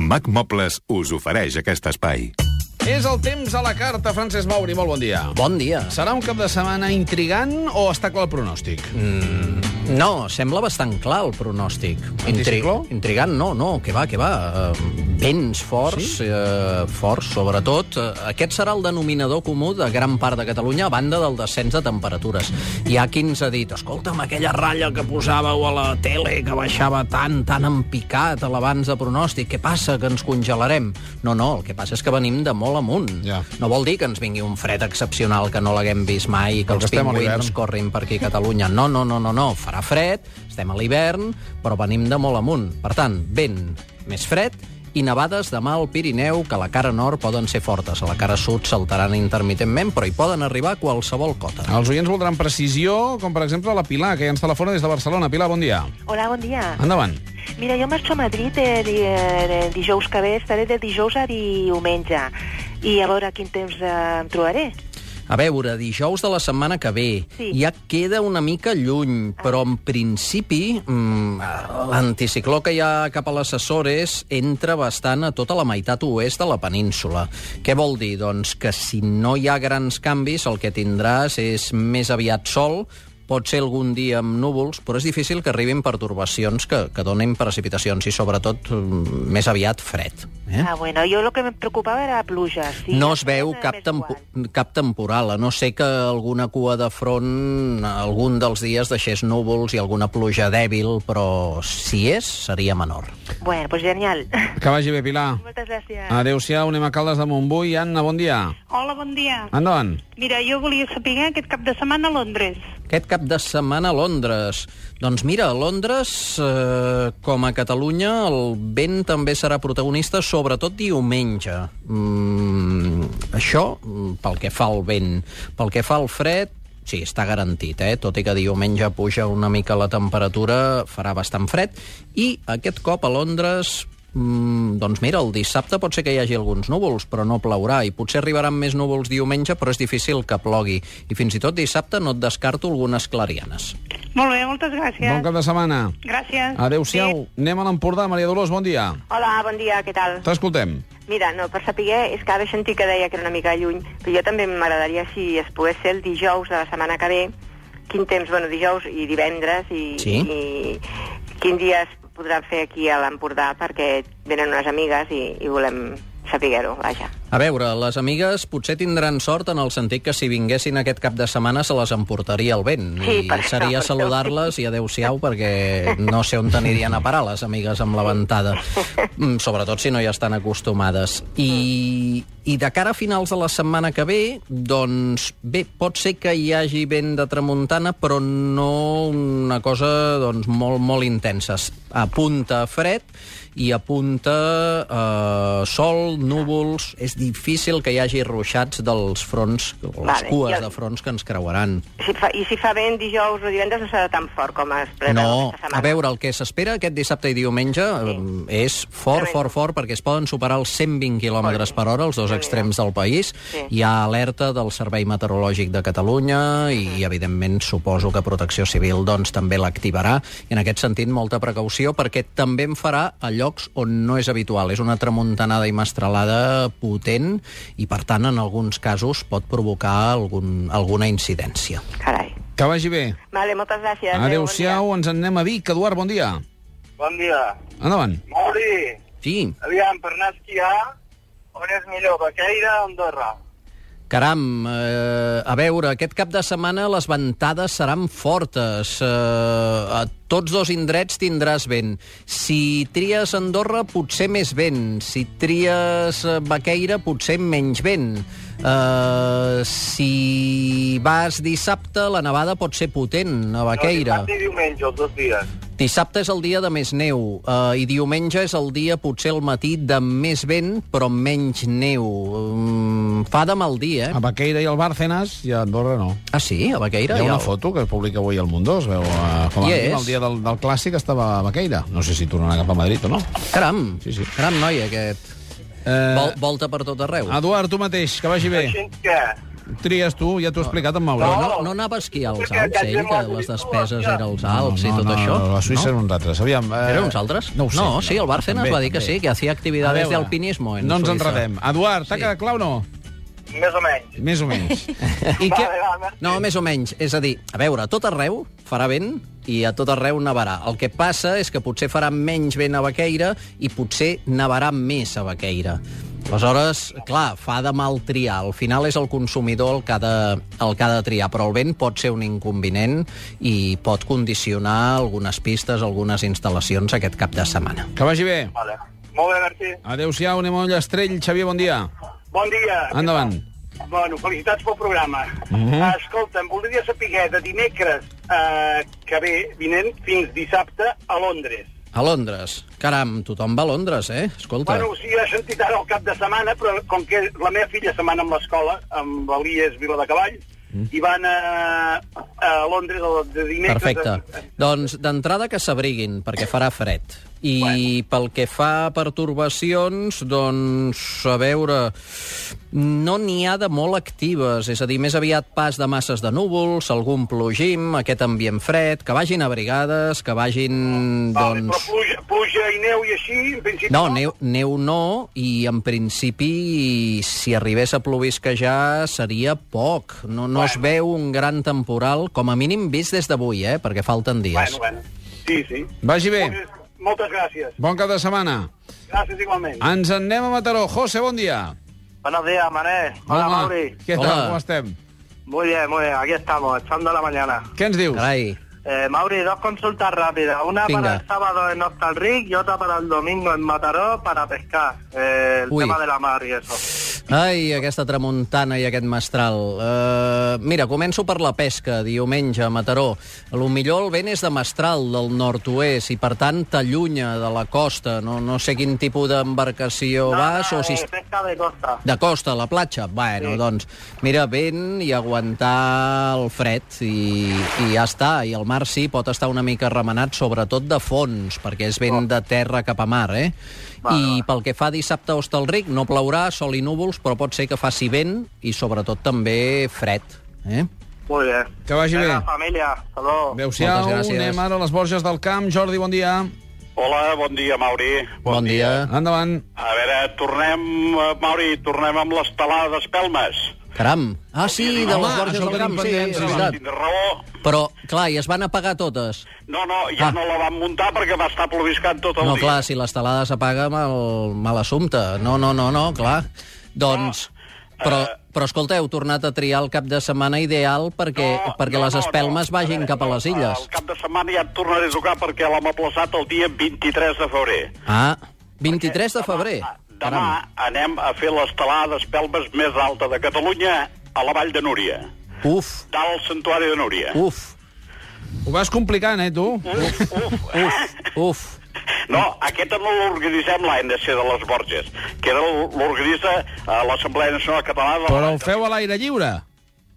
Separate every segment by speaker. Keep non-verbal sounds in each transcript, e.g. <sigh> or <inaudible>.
Speaker 1: Mac Mobles us ofereix aquest espai.
Speaker 2: És el temps a la carta, Francesc Mauri, molt bon dia.
Speaker 3: Bon dia.
Speaker 2: Serà un cap de setmana intrigant o està clar el pronòstic?
Speaker 3: No, sembla bastant clar el pronòstic.
Speaker 2: Anticicló?
Speaker 3: intrigant, no, no, que va, que va. Eh, Vents forts, sí? eh, forts, sobretot. Eh, Aquest serà el denominador comú de gran part de Catalunya a banda del descens de temperatures. Hi ha qui ens ha dit, escolta'm, aquella ratlla que posàveu a la tele, que baixava tant, tan empicat a l'abans de pronòstic, què passa, que ens congelarem? No, no, el que passa és que venim de molt amunt.
Speaker 2: Ja.
Speaker 3: No vol dir que ens vingui un fred excepcional que no l'haguem vist mai, i que
Speaker 2: Però que
Speaker 3: els
Speaker 2: estem a
Speaker 3: pingüins
Speaker 2: l'hivern.
Speaker 3: corrin per aquí a Catalunya. No, no, no, no, no. Farà fred, estem a l'hivern, però venim de molt amunt. Per tant, vent més fred i nevades demà al Pirineu, que a la cara nord poden ser fortes, a la cara sud saltaran intermitentment, però hi poden arribar a qualsevol cota.
Speaker 2: Els oients voldran precisió, com per exemple la Pilar, que ja ens telefona des de Barcelona. Pilar, bon dia.
Speaker 4: Hola, bon dia.
Speaker 2: Endavant.
Speaker 4: Mira, jo marxo a Madrid el, el, el dijous que ve, estaré de dijous a diumenge. I a veure quin temps eh, em trobaré.
Speaker 3: A veure, dijous de la setmana que ve
Speaker 4: Sí.
Speaker 3: ja queda una mica lluny, però en principi mm, l'anticicló que hi ha cap a les Açores entra bastant a tota la meitat oest de la península. Què vol dir? Doncs que si no hi ha grans canvis, el que tindràs és més aviat sol, pot ser algun dia amb núvols, però és difícil que arribin pertorbacions que, que donin precipitacions i, sobretot, mm, més aviat fred. Eh?
Speaker 4: Ah, bueno, jo el que em preocupava era la pluja. Sí,
Speaker 3: no es veu
Speaker 4: Eh,
Speaker 3: cap,
Speaker 4: més
Speaker 3: tempo,
Speaker 4: guant.
Speaker 3: cap temporal, a no ser que alguna cua de front algun dels dies deixés núvols i alguna pluja dèbil, però si és, seria menor.
Speaker 4: Bueno, pues genial.
Speaker 2: Que vagi bé, Pilar.
Speaker 4: <laughs> Moltes gràcies.
Speaker 2: Adéu-siau, anem a Caldes de Montbui. Anna, bon dia.
Speaker 5: Hola, bon dia.
Speaker 2: Endavant.
Speaker 5: Mira, jo volia saber aquest cap de setmana a Londres.
Speaker 3: Aquest cap de setmana a Londres. Doncs mira, a Londres, eh, com a Catalunya, el vent també serà protagonista, sobretot diumenge. Mm, això mm, pel que fa al vent. Pel que fa al fred, sí, està garantit, eh? tot i que diumenge puja una mica la temperatura, farà bastant fred, i aquest cop a Londres Mm, doncs mira, el dissabte pot ser que hi hagi alguns núvols, però no plourà, i potser arribaran més núvols diumenge, però és difícil que plogui. I fins i tot dissabte no et descarto algunes clarianes.
Speaker 5: Molt bé, moltes gràcies.
Speaker 2: Bon cap de setmana.
Speaker 5: Gràcies.
Speaker 2: Adéu-siau. Anem a l'Empordà. Maria Dolors, bon dia.
Speaker 6: Hola, bon dia, què tal?
Speaker 2: T'escoltem.
Speaker 6: Mira, no, per saber, és que ara sentit que deia que era una mica lluny, però jo també m'agradaria si es pogués ser el dijous de la setmana que ve, quin temps, bueno, dijous i divendres, i,
Speaker 3: Sí.
Speaker 6: i quin dia es podrà fer aquí a l'Empordà, perquè venen unes amigues i, i volem saber-ho, vaja.
Speaker 3: A veure, les amigues potser tindran sort en el sentit que si vinguessin aquest cap de setmana se les emportaria el vent.
Speaker 6: Sí,
Speaker 3: I
Speaker 6: per això,
Speaker 3: seria
Speaker 6: per això.
Speaker 3: saludar-les i adeu-siau perquè no sé on anirien a parar les amigues amb la ventada. Mm, Sobretot si no hi estan acostumades. I, I de cara a finals de la setmana que ve, doncs bé, pot ser que hi hagi vent de tramuntana, però no una cosa doncs, molt, molt intensa. Apunta a fred i apunta eh, sol, núvols... És difícil que hi hagi ruixats dels fronts, o les
Speaker 6: Vale,
Speaker 3: cues
Speaker 6: i el-
Speaker 3: de fronts que ens creuaran.
Speaker 6: Si fa, I si fa vent dijous o divendres no serà tan fort com es preveu
Speaker 3: No,
Speaker 6: aquesta setmana.
Speaker 3: a veure, el que s'espera aquest dissabte i diumenge sí. és fort,
Speaker 6: Tremendo.
Speaker 3: fort, fort, perquè es poden superar els 120 km per hora, els dos extrems del país.
Speaker 6: Sí.
Speaker 3: Hi ha alerta del Servei Meteorològic de Catalunya i, evidentment, suposo que Protecció Civil doncs, també l'activarà. I en aquest sentit, molta precaució, perquè també en farà a llocs on no és habitual. És una tramuntanada i mestralada potent i, per tant, en alguns casos pot provocar algun, alguna incidència.
Speaker 6: Carai.
Speaker 2: Que vagi bé.
Speaker 6: Vale, moltes gràcies. adéu, bon dia.
Speaker 2: Adéu-siau. Ens en anem a Vic. Eduard, bon dia.
Speaker 7: Bon dia.
Speaker 2: Endavant.
Speaker 7: Mauri,
Speaker 3: Sí,
Speaker 7: aviam, per anar a esquiar, on és millor, Baqueira o Andorra?
Speaker 3: Caram, eh, a veure, aquest cap de setmana les ventades seran fortes. Eh, a tots dos indrets tindràs vent. Si tries Andorra, potser més vent. Si tries eh, Baqueira, potser menys vent. Eh, si vas dissabte, la nevada pot ser potent a Baqueira.
Speaker 7: No, dissabte i Doncs diumenge, els dos dies.
Speaker 3: Dissabte és el dia de més neu eh, i diumenge és el dia, potser al matí, de més vent, però menys neu. Mm, fa de mal dia, eh?
Speaker 2: A Baqueira i al Bárcenas, i a Andorra no.
Speaker 3: Ah, sí? A Baqueira?
Speaker 2: Hi ha
Speaker 3: Hi
Speaker 2: una
Speaker 3: el-
Speaker 2: foto que es publica avui al Mundo, es veu eh, com a
Speaker 3: Hi
Speaker 2: mínim
Speaker 3: és.
Speaker 2: el dia del, del clàssic estava a Baqueira. No sé si tornarà cap a Madrid o no.
Speaker 3: Caram,
Speaker 2: Sí, sí.
Speaker 3: caram, noi, aquest.
Speaker 2: Eh, Ah,
Speaker 3: Vol, volta per tot arreu.
Speaker 2: Eduard, tu mateix, que vagi bé.
Speaker 7: Així que,
Speaker 2: Tries tu, ja t'ho he explicat en Mauri.
Speaker 3: Però no, no anava a esquiar als
Speaker 7: Perquè
Speaker 3: Alps, ell, que les despeses eren els Alps i tot això?
Speaker 8: No, la Suïssa no? eren uns altres. Aviam, eh,
Speaker 3: Eren uns altres?
Speaker 8: No ho sé.
Speaker 3: no sí, el Bárcenas
Speaker 8: També,
Speaker 3: va dir que
Speaker 8: també.
Speaker 3: sí, que hacía actividades
Speaker 8: A
Speaker 3: de
Speaker 8: veure,
Speaker 3: alpinismo en
Speaker 2: No ens
Speaker 3: Suïssa.
Speaker 2: enredem. Eduard, t'ha
Speaker 3: Sí.
Speaker 2: quedat clar o no?
Speaker 7: Més o menys.
Speaker 2: Més o menys.
Speaker 3: I
Speaker 7: Va,
Speaker 3: què...
Speaker 7: va, va.
Speaker 3: No, més o menys. És a dir, a veure, a tot arreu farà vent i a tot arreu nevarà. El que passa és que potser farà menys vent a Baqueira i potser nevarà més a Baqueira. Aleshores, clar, fa de mal triar. Al final és el consumidor el que, ha de, el que ha de triar, però el vent pot ser un inconvenient i pot condicionar algunes pistes, algunes instal·lacions aquest cap de setmana.
Speaker 2: Que vagi bé.
Speaker 7: Vale. Molt bé, merci.
Speaker 2: Adéu-siau, anem a Ullastrell. Xavier, bon dia.
Speaker 7: Bon dia.
Speaker 2: Endavant.
Speaker 7: Bueno, felicitats pel programa. Mm -hmm. Escolta'm, voldria saber de dimecres eh, que ve, vinent, fins dissabte a Londres.
Speaker 3: A Londres. Caram, tothom va a Londres, eh? Escolta.
Speaker 7: Bueno, o sigui, he sentit ara el cap de setmana, però com que la meva filla se'n va anar amb l'escola, amb l'Elies Vila de Cavall, mm. i van a, a Londres el de dimecres...
Speaker 3: Perfecte. <laughs> Doncs d'entrada que s'abriguin, perquè farà fred. I bueno. pel que fa a pertorbacions, doncs, a veure, no n'hi ha de molt actives, és a dir, més aviat pas de masses de núvols, algun plogim, aquest ambient fred, que vagin abrigades, que vagin,
Speaker 7: Vale, però
Speaker 3: doncs...
Speaker 7: pluja, pluja i neu i així, en principi...
Speaker 3: No, neu, neu no, i en principi, si arribés a plovisquejar, seria poc. No, no bueno. es veu un gran temporal, com a mínim vist des d'avui, eh? perquè falten dies.
Speaker 7: Bueno, bueno. Sí, sí.
Speaker 2: Vagi bé.
Speaker 7: Moltes, moltes gràcies.
Speaker 2: Bon cap de setmana.
Speaker 7: Gràcies igualment.
Speaker 2: Ens en anem a Mataró. José, bon dia.
Speaker 7: Ah. Buenos días, Mané.
Speaker 2: Home, Què tal?
Speaker 3: Hola.
Speaker 2: Com estem?
Speaker 7: Muy bien, muy bien. Aquí estamos, echando la mañana.
Speaker 2: Què ens dius?
Speaker 3: Carai,
Speaker 7: Eh, Mauri, dos consultas rápidas. Una
Speaker 3: Venga.
Speaker 7: para el sábado en Hostalric y otra para el domingo en Mataró para pescar. Eh, el
Speaker 3: Uy.
Speaker 7: tema de la mar y eso.
Speaker 3: ai, aquesta tramuntana i aquest mestral. Uh, mira, començo per la pesca, diumenge, a Mataró. A lo millor el vent és de mestral, del nord-oest, i per tant t'allunya de la costa. No, no sé quin tipus d'embarcació vas, o si...
Speaker 7: eh, pesca de costa.
Speaker 3: De costa, a la platja? Bueno, sí. doncs, mira, vent i aguantar el fred i, i ja està. I el mar sí, pot estar una mica remenat, sobretot de fons, perquè és
Speaker 2: Oh.
Speaker 3: vent de terra cap a mar, eh? I pel que fa dissabte a Hostalric, no plourà, sol i núvols, però pot ser que faci vent i sobretot també fred, eh?
Speaker 7: Muy bien.
Speaker 2: Que vagi bé.
Speaker 7: Venga, familia. Hasta luego.
Speaker 2: Adéu-siau,
Speaker 3: Moltes gràcies.
Speaker 2: anem ara a les Borges del Camp. Jordi, bon dia.
Speaker 9: Hola, bon dia, Mauri.
Speaker 3: Bon dia.
Speaker 2: Endavant.
Speaker 9: A veure, tornem, eh, Mauri, tornem amb l'estelada d'Espelmes.
Speaker 3: Caram. Ah, sí, de
Speaker 2: Home,
Speaker 3: les Borges
Speaker 2: això ho
Speaker 3: del Camp,
Speaker 2: tenim
Speaker 3: sí,
Speaker 2: pendent,
Speaker 3: és
Speaker 2: sí,
Speaker 3: veritat.
Speaker 9: Tindrà raó.
Speaker 3: Però, clar, i es van apagar totes.
Speaker 9: No, no, ja
Speaker 3: Ah.
Speaker 9: ah. no la vam muntar perquè va estar ploviscant tot el
Speaker 3: No,
Speaker 9: dia.
Speaker 3: clar, si l'estelada s'apaga, mal, mal assumpte. No, no, no, no, clar. Doncs... Però,
Speaker 9: eh,
Speaker 3: però escolta, heu tornat a triar el cap de setmana ideal perquè,
Speaker 9: No,
Speaker 3: perquè
Speaker 9: no,
Speaker 3: les
Speaker 9: no,
Speaker 3: espelmes
Speaker 9: no.
Speaker 3: vagin
Speaker 9: veure,
Speaker 3: cap a les illes.
Speaker 9: El cap de setmana ja et tornaré a tocar perquè l'hem aplaçat el dia 23 de febrer. Eh,
Speaker 3: Ah, 23 de febrer.
Speaker 9: Demà
Speaker 3: Caram.
Speaker 9: anem a fer l'estelada d'Espelmes més alta de Catalunya a la Vall de Núria,
Speaker 3: Uf,
Speaker 9: dalt al Santuari de Núria.
Speaker 3: uf,
Speaker 2: Ho vas complicant, eh, tu?
Speaker 9: Uf, uf, uf.
Speaker 3: uf.
Speaker 9: No, aquesta no l'organitzem l'ANC de les Borges, que era l- l'organitza eh, l'Assemblea Nacional Catalana de
Speaker 2: Però ho feu a l'aire lliure?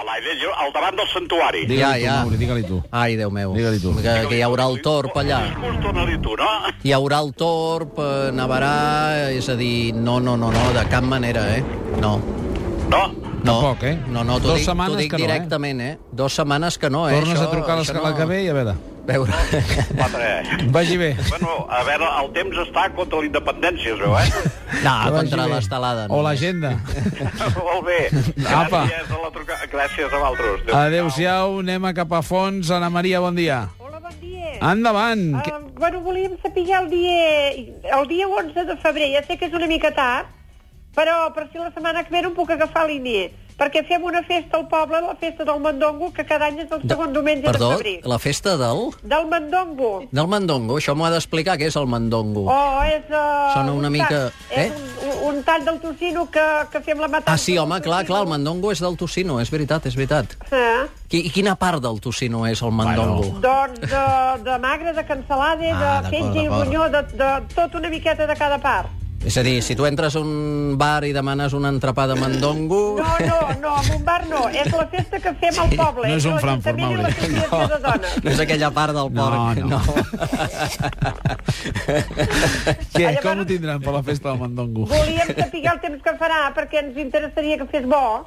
Speaker 9: a l'aire lliure, al davant del santuari.
Speaker 3: Digue-li Ja,
Speaker 2: Digue-li
Speaker 3: ja.
Speaker 2: tu, Mauri, digue-li tu.
Speaker 3: Ai, Déu meu.
Speaker 2: Digue-li tu.
Speaker 3: Que, que hi haurà el torb allà.
Speaker 9: Un discurs dona-li tu, no?
Speaker 3: Hi haurà el torb, eh, nevarà... És a dir, no, no, no, no, de cap manera, eh? No.
Speaker 9: No?
Speaker 3: No,
Speaker 2: Tampoc, eh?
Speaker 3: No, no, t'ho
Speaker 2: Dos
Speaker 3: dic, t'ho
Speaker 2: setmanes
Speaker 3: dic
Speaker 2: que no, eh?
Speaker 3: directament, eh? Dos setmanes que no, eh?
Speaker 2: Tornes
Speaker 3: Això-
Speaker 2: a trucar a
Speaker 3: això
Speaker 2: l'escala
Speaker 3: no.
Speaker 2: que ve i a veure.
Speaker 3: Veure... <laughs>
Speaker 9: Quatre.
Speaker 2: Vagi bé.
Speaker 9: bueno, a veure, el temps està contra la independència, es veu, eh?
Speaker 3: <laughs> No,
Speaker 2: Que vagi
Speaker 3: Ah, contra
Speaker 2: bé.
Speaker 3: l'estelada.
Speaker 2: O
Speaker 3: només.
Speaker 2: l'agenda.
Speaker 9: Molt bé.
Speaker 2: Apa.
Speaker 9: Gràcies a la truca... Gràcies a vosaltres. Adéu.
Speaker 2: Adéu-siau, anem a cap a fons. Ana Maria, bon dia.
Speaker 5: Hola, bon dia.
Speaker 2: Endavant.
Speaker 5: Ah, bueno, volíem saber el dia, el dia 11 de febrer, ja sé que és una mica tard, però per si la setmana que ve no em puc agafar l'INE, perquè fem una festa al poble, la festa del Mandongo, que cada any és el
Speaker 3: De-
Speaker 5: segon diumenge
Speaker 3: Perdó,
Speaker 5: de febrer.
Speaker 3: la festa del...
Speaker 5: Del Mandongo.
Speaker 3: Del mandongo, això m'ho ha d'explicar, què és el mandongo.
Speaker 5: Oh, és... Uh,
Speaker 3: Sona una mica-
Speaker 5: Tall,
Speaker 3: eh?
Speaker 5: És un, un, un tall del tocino que, que fem la matança.
Speaker 3: ah, sí,
Speaker 5: del
Speaker 3: home, clar,
Speaker 5: tocino.
Speaker 3: clar, el mandongo és del tocino, és veritat, és veritat.
Speaker 5: Eh?
Speaker 3: Qui, I quina part del tocino és el mandongo?
Speaker 5: Doncs de, de magre, de cansalada,
Speaker 3: Ah,
Speaker 5: de
Speaker 3: d'acord,
Speaker 5: fetge i
Speaker 3: d'acord.
Speaker 5: bunyó, de, de tot una miqueta de cada part.
Speaker 3: És a dir, si tu entres a un bar i demanes un entrepà de mandongo...
Speaker 5: No, no, no, en un bar no. És la festa que fem al poble.
Speaker 2: no és un Frankfurt,
Speaker 5: l'Ajuntament i
Speaker 2: Mauri.
Speaker 5: l'Associació de Dones.
Speaker 3: no és aquella part del
Speaker 2: No,
Speaker 3: porc.
Speaker 2: no. Què?
Speaker 5: Llavors-
Speaker 2: Com ho tindran per la festa del Mandongo?
Speaker 5: Volíem saber el temps que farà, perquè ens interessaria que fes bo.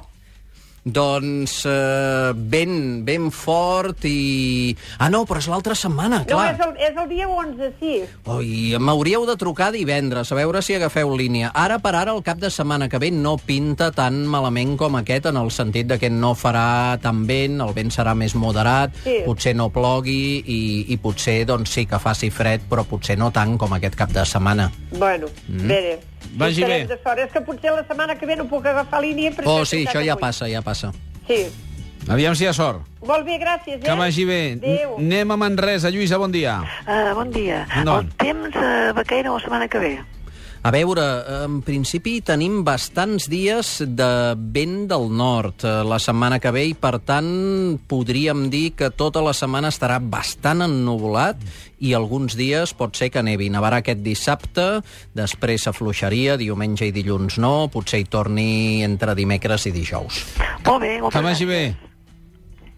Speaker 3: Doncs eh, ben, ben fort i... Ah, no, però és l'altra setmana,
Speaker 5: No,
Speaker 3: clar.
Speaker 5: és el, és el dia 11, sí.
Speaker 3: Oi, m'hauríeu de trucar divendres, a veure si agafeu línia. Ara per ara, el cap de setmana que ve no pinta tan malament com aquest, en el sentit de que no farà tan vent, el vent serà més moderat,
Speaker 5: Sí.
Speaker 3: potser no plogui i, i potser doncs, sí que faci fred, però potser no tant com aquest cap de setmana.
Speaker 5: Bueno, mm. bé,
Speaker 2: Vagi bé.
Speaker 5: estarem De sort. És que potser la setmana que ve no puc agafar línia. perquè
Speaker 3: Oh,
Speaker 5: he
Speaker 3: sí,
Speaker 5: estat
Speaker 3: això ja
Speaker 5: avui.
Speaker 3: passa, ja passa.
Speaker 5: Sí.
Speaker 2: Aviam si hi ha sort.
Speaker 5: Molt bé, gràcies, eh?
Speaker 2: Que vagi bé.
Speaker 5: Adéu.
Speaker 2: Anem a Manresa. Lluïsa, bon dia.
Speaker 4: Uh, bon dia.
Speaker 2: No.
Speaker 4: El temps uh, va caure la setmana que ve.
Speaker 3: A veure, en principi tenim bastants dies de vent del nord eh, la setmana que ve i, per tant, podríem dir que tota la setmana estarà bastant ennuvolat i alguns dies pot ser que nevi. Nevarà aquest dissabte, després s'afluixaria, diumenge i dilluns no, potser hi torni entre dimecres i dijous.
Speaker 4: Molt bé, moltes
Speaker 2: Que vagi bé.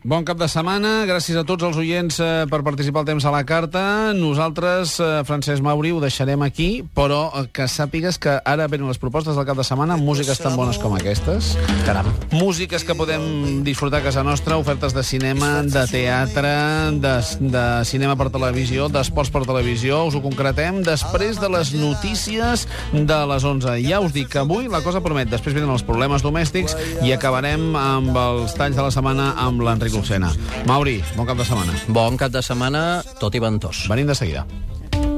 Speaker 2: Bon cap de setmana. Gràcies a tots els oients eh, per participar al temps a la carta. Nosaltres, eh, Francesc Mauri, ho deixarem aquí, però eh, que sàpigues que ara venen les propostes del cap de setmana, músiques tan bones com aquestes.
Speaker 3: Caram.
Speaker 2: Músiques que podem disfrutar a casa nostra, ofertes de cinema, de teatre, de, de cinema per televisió, d'esports per televisió. Us ho concretem després de les notícies de les 11. Ja us dic que avui la cosa promet. Després venen els problemes domèstics i acabarem amb els talls de la setmana amb l'Enric Lucena. Mauri, bon cap de setmana.
Speaker 3: Bon cap de setmana, tot i ventós.
Speaker 2: Venim de seguida.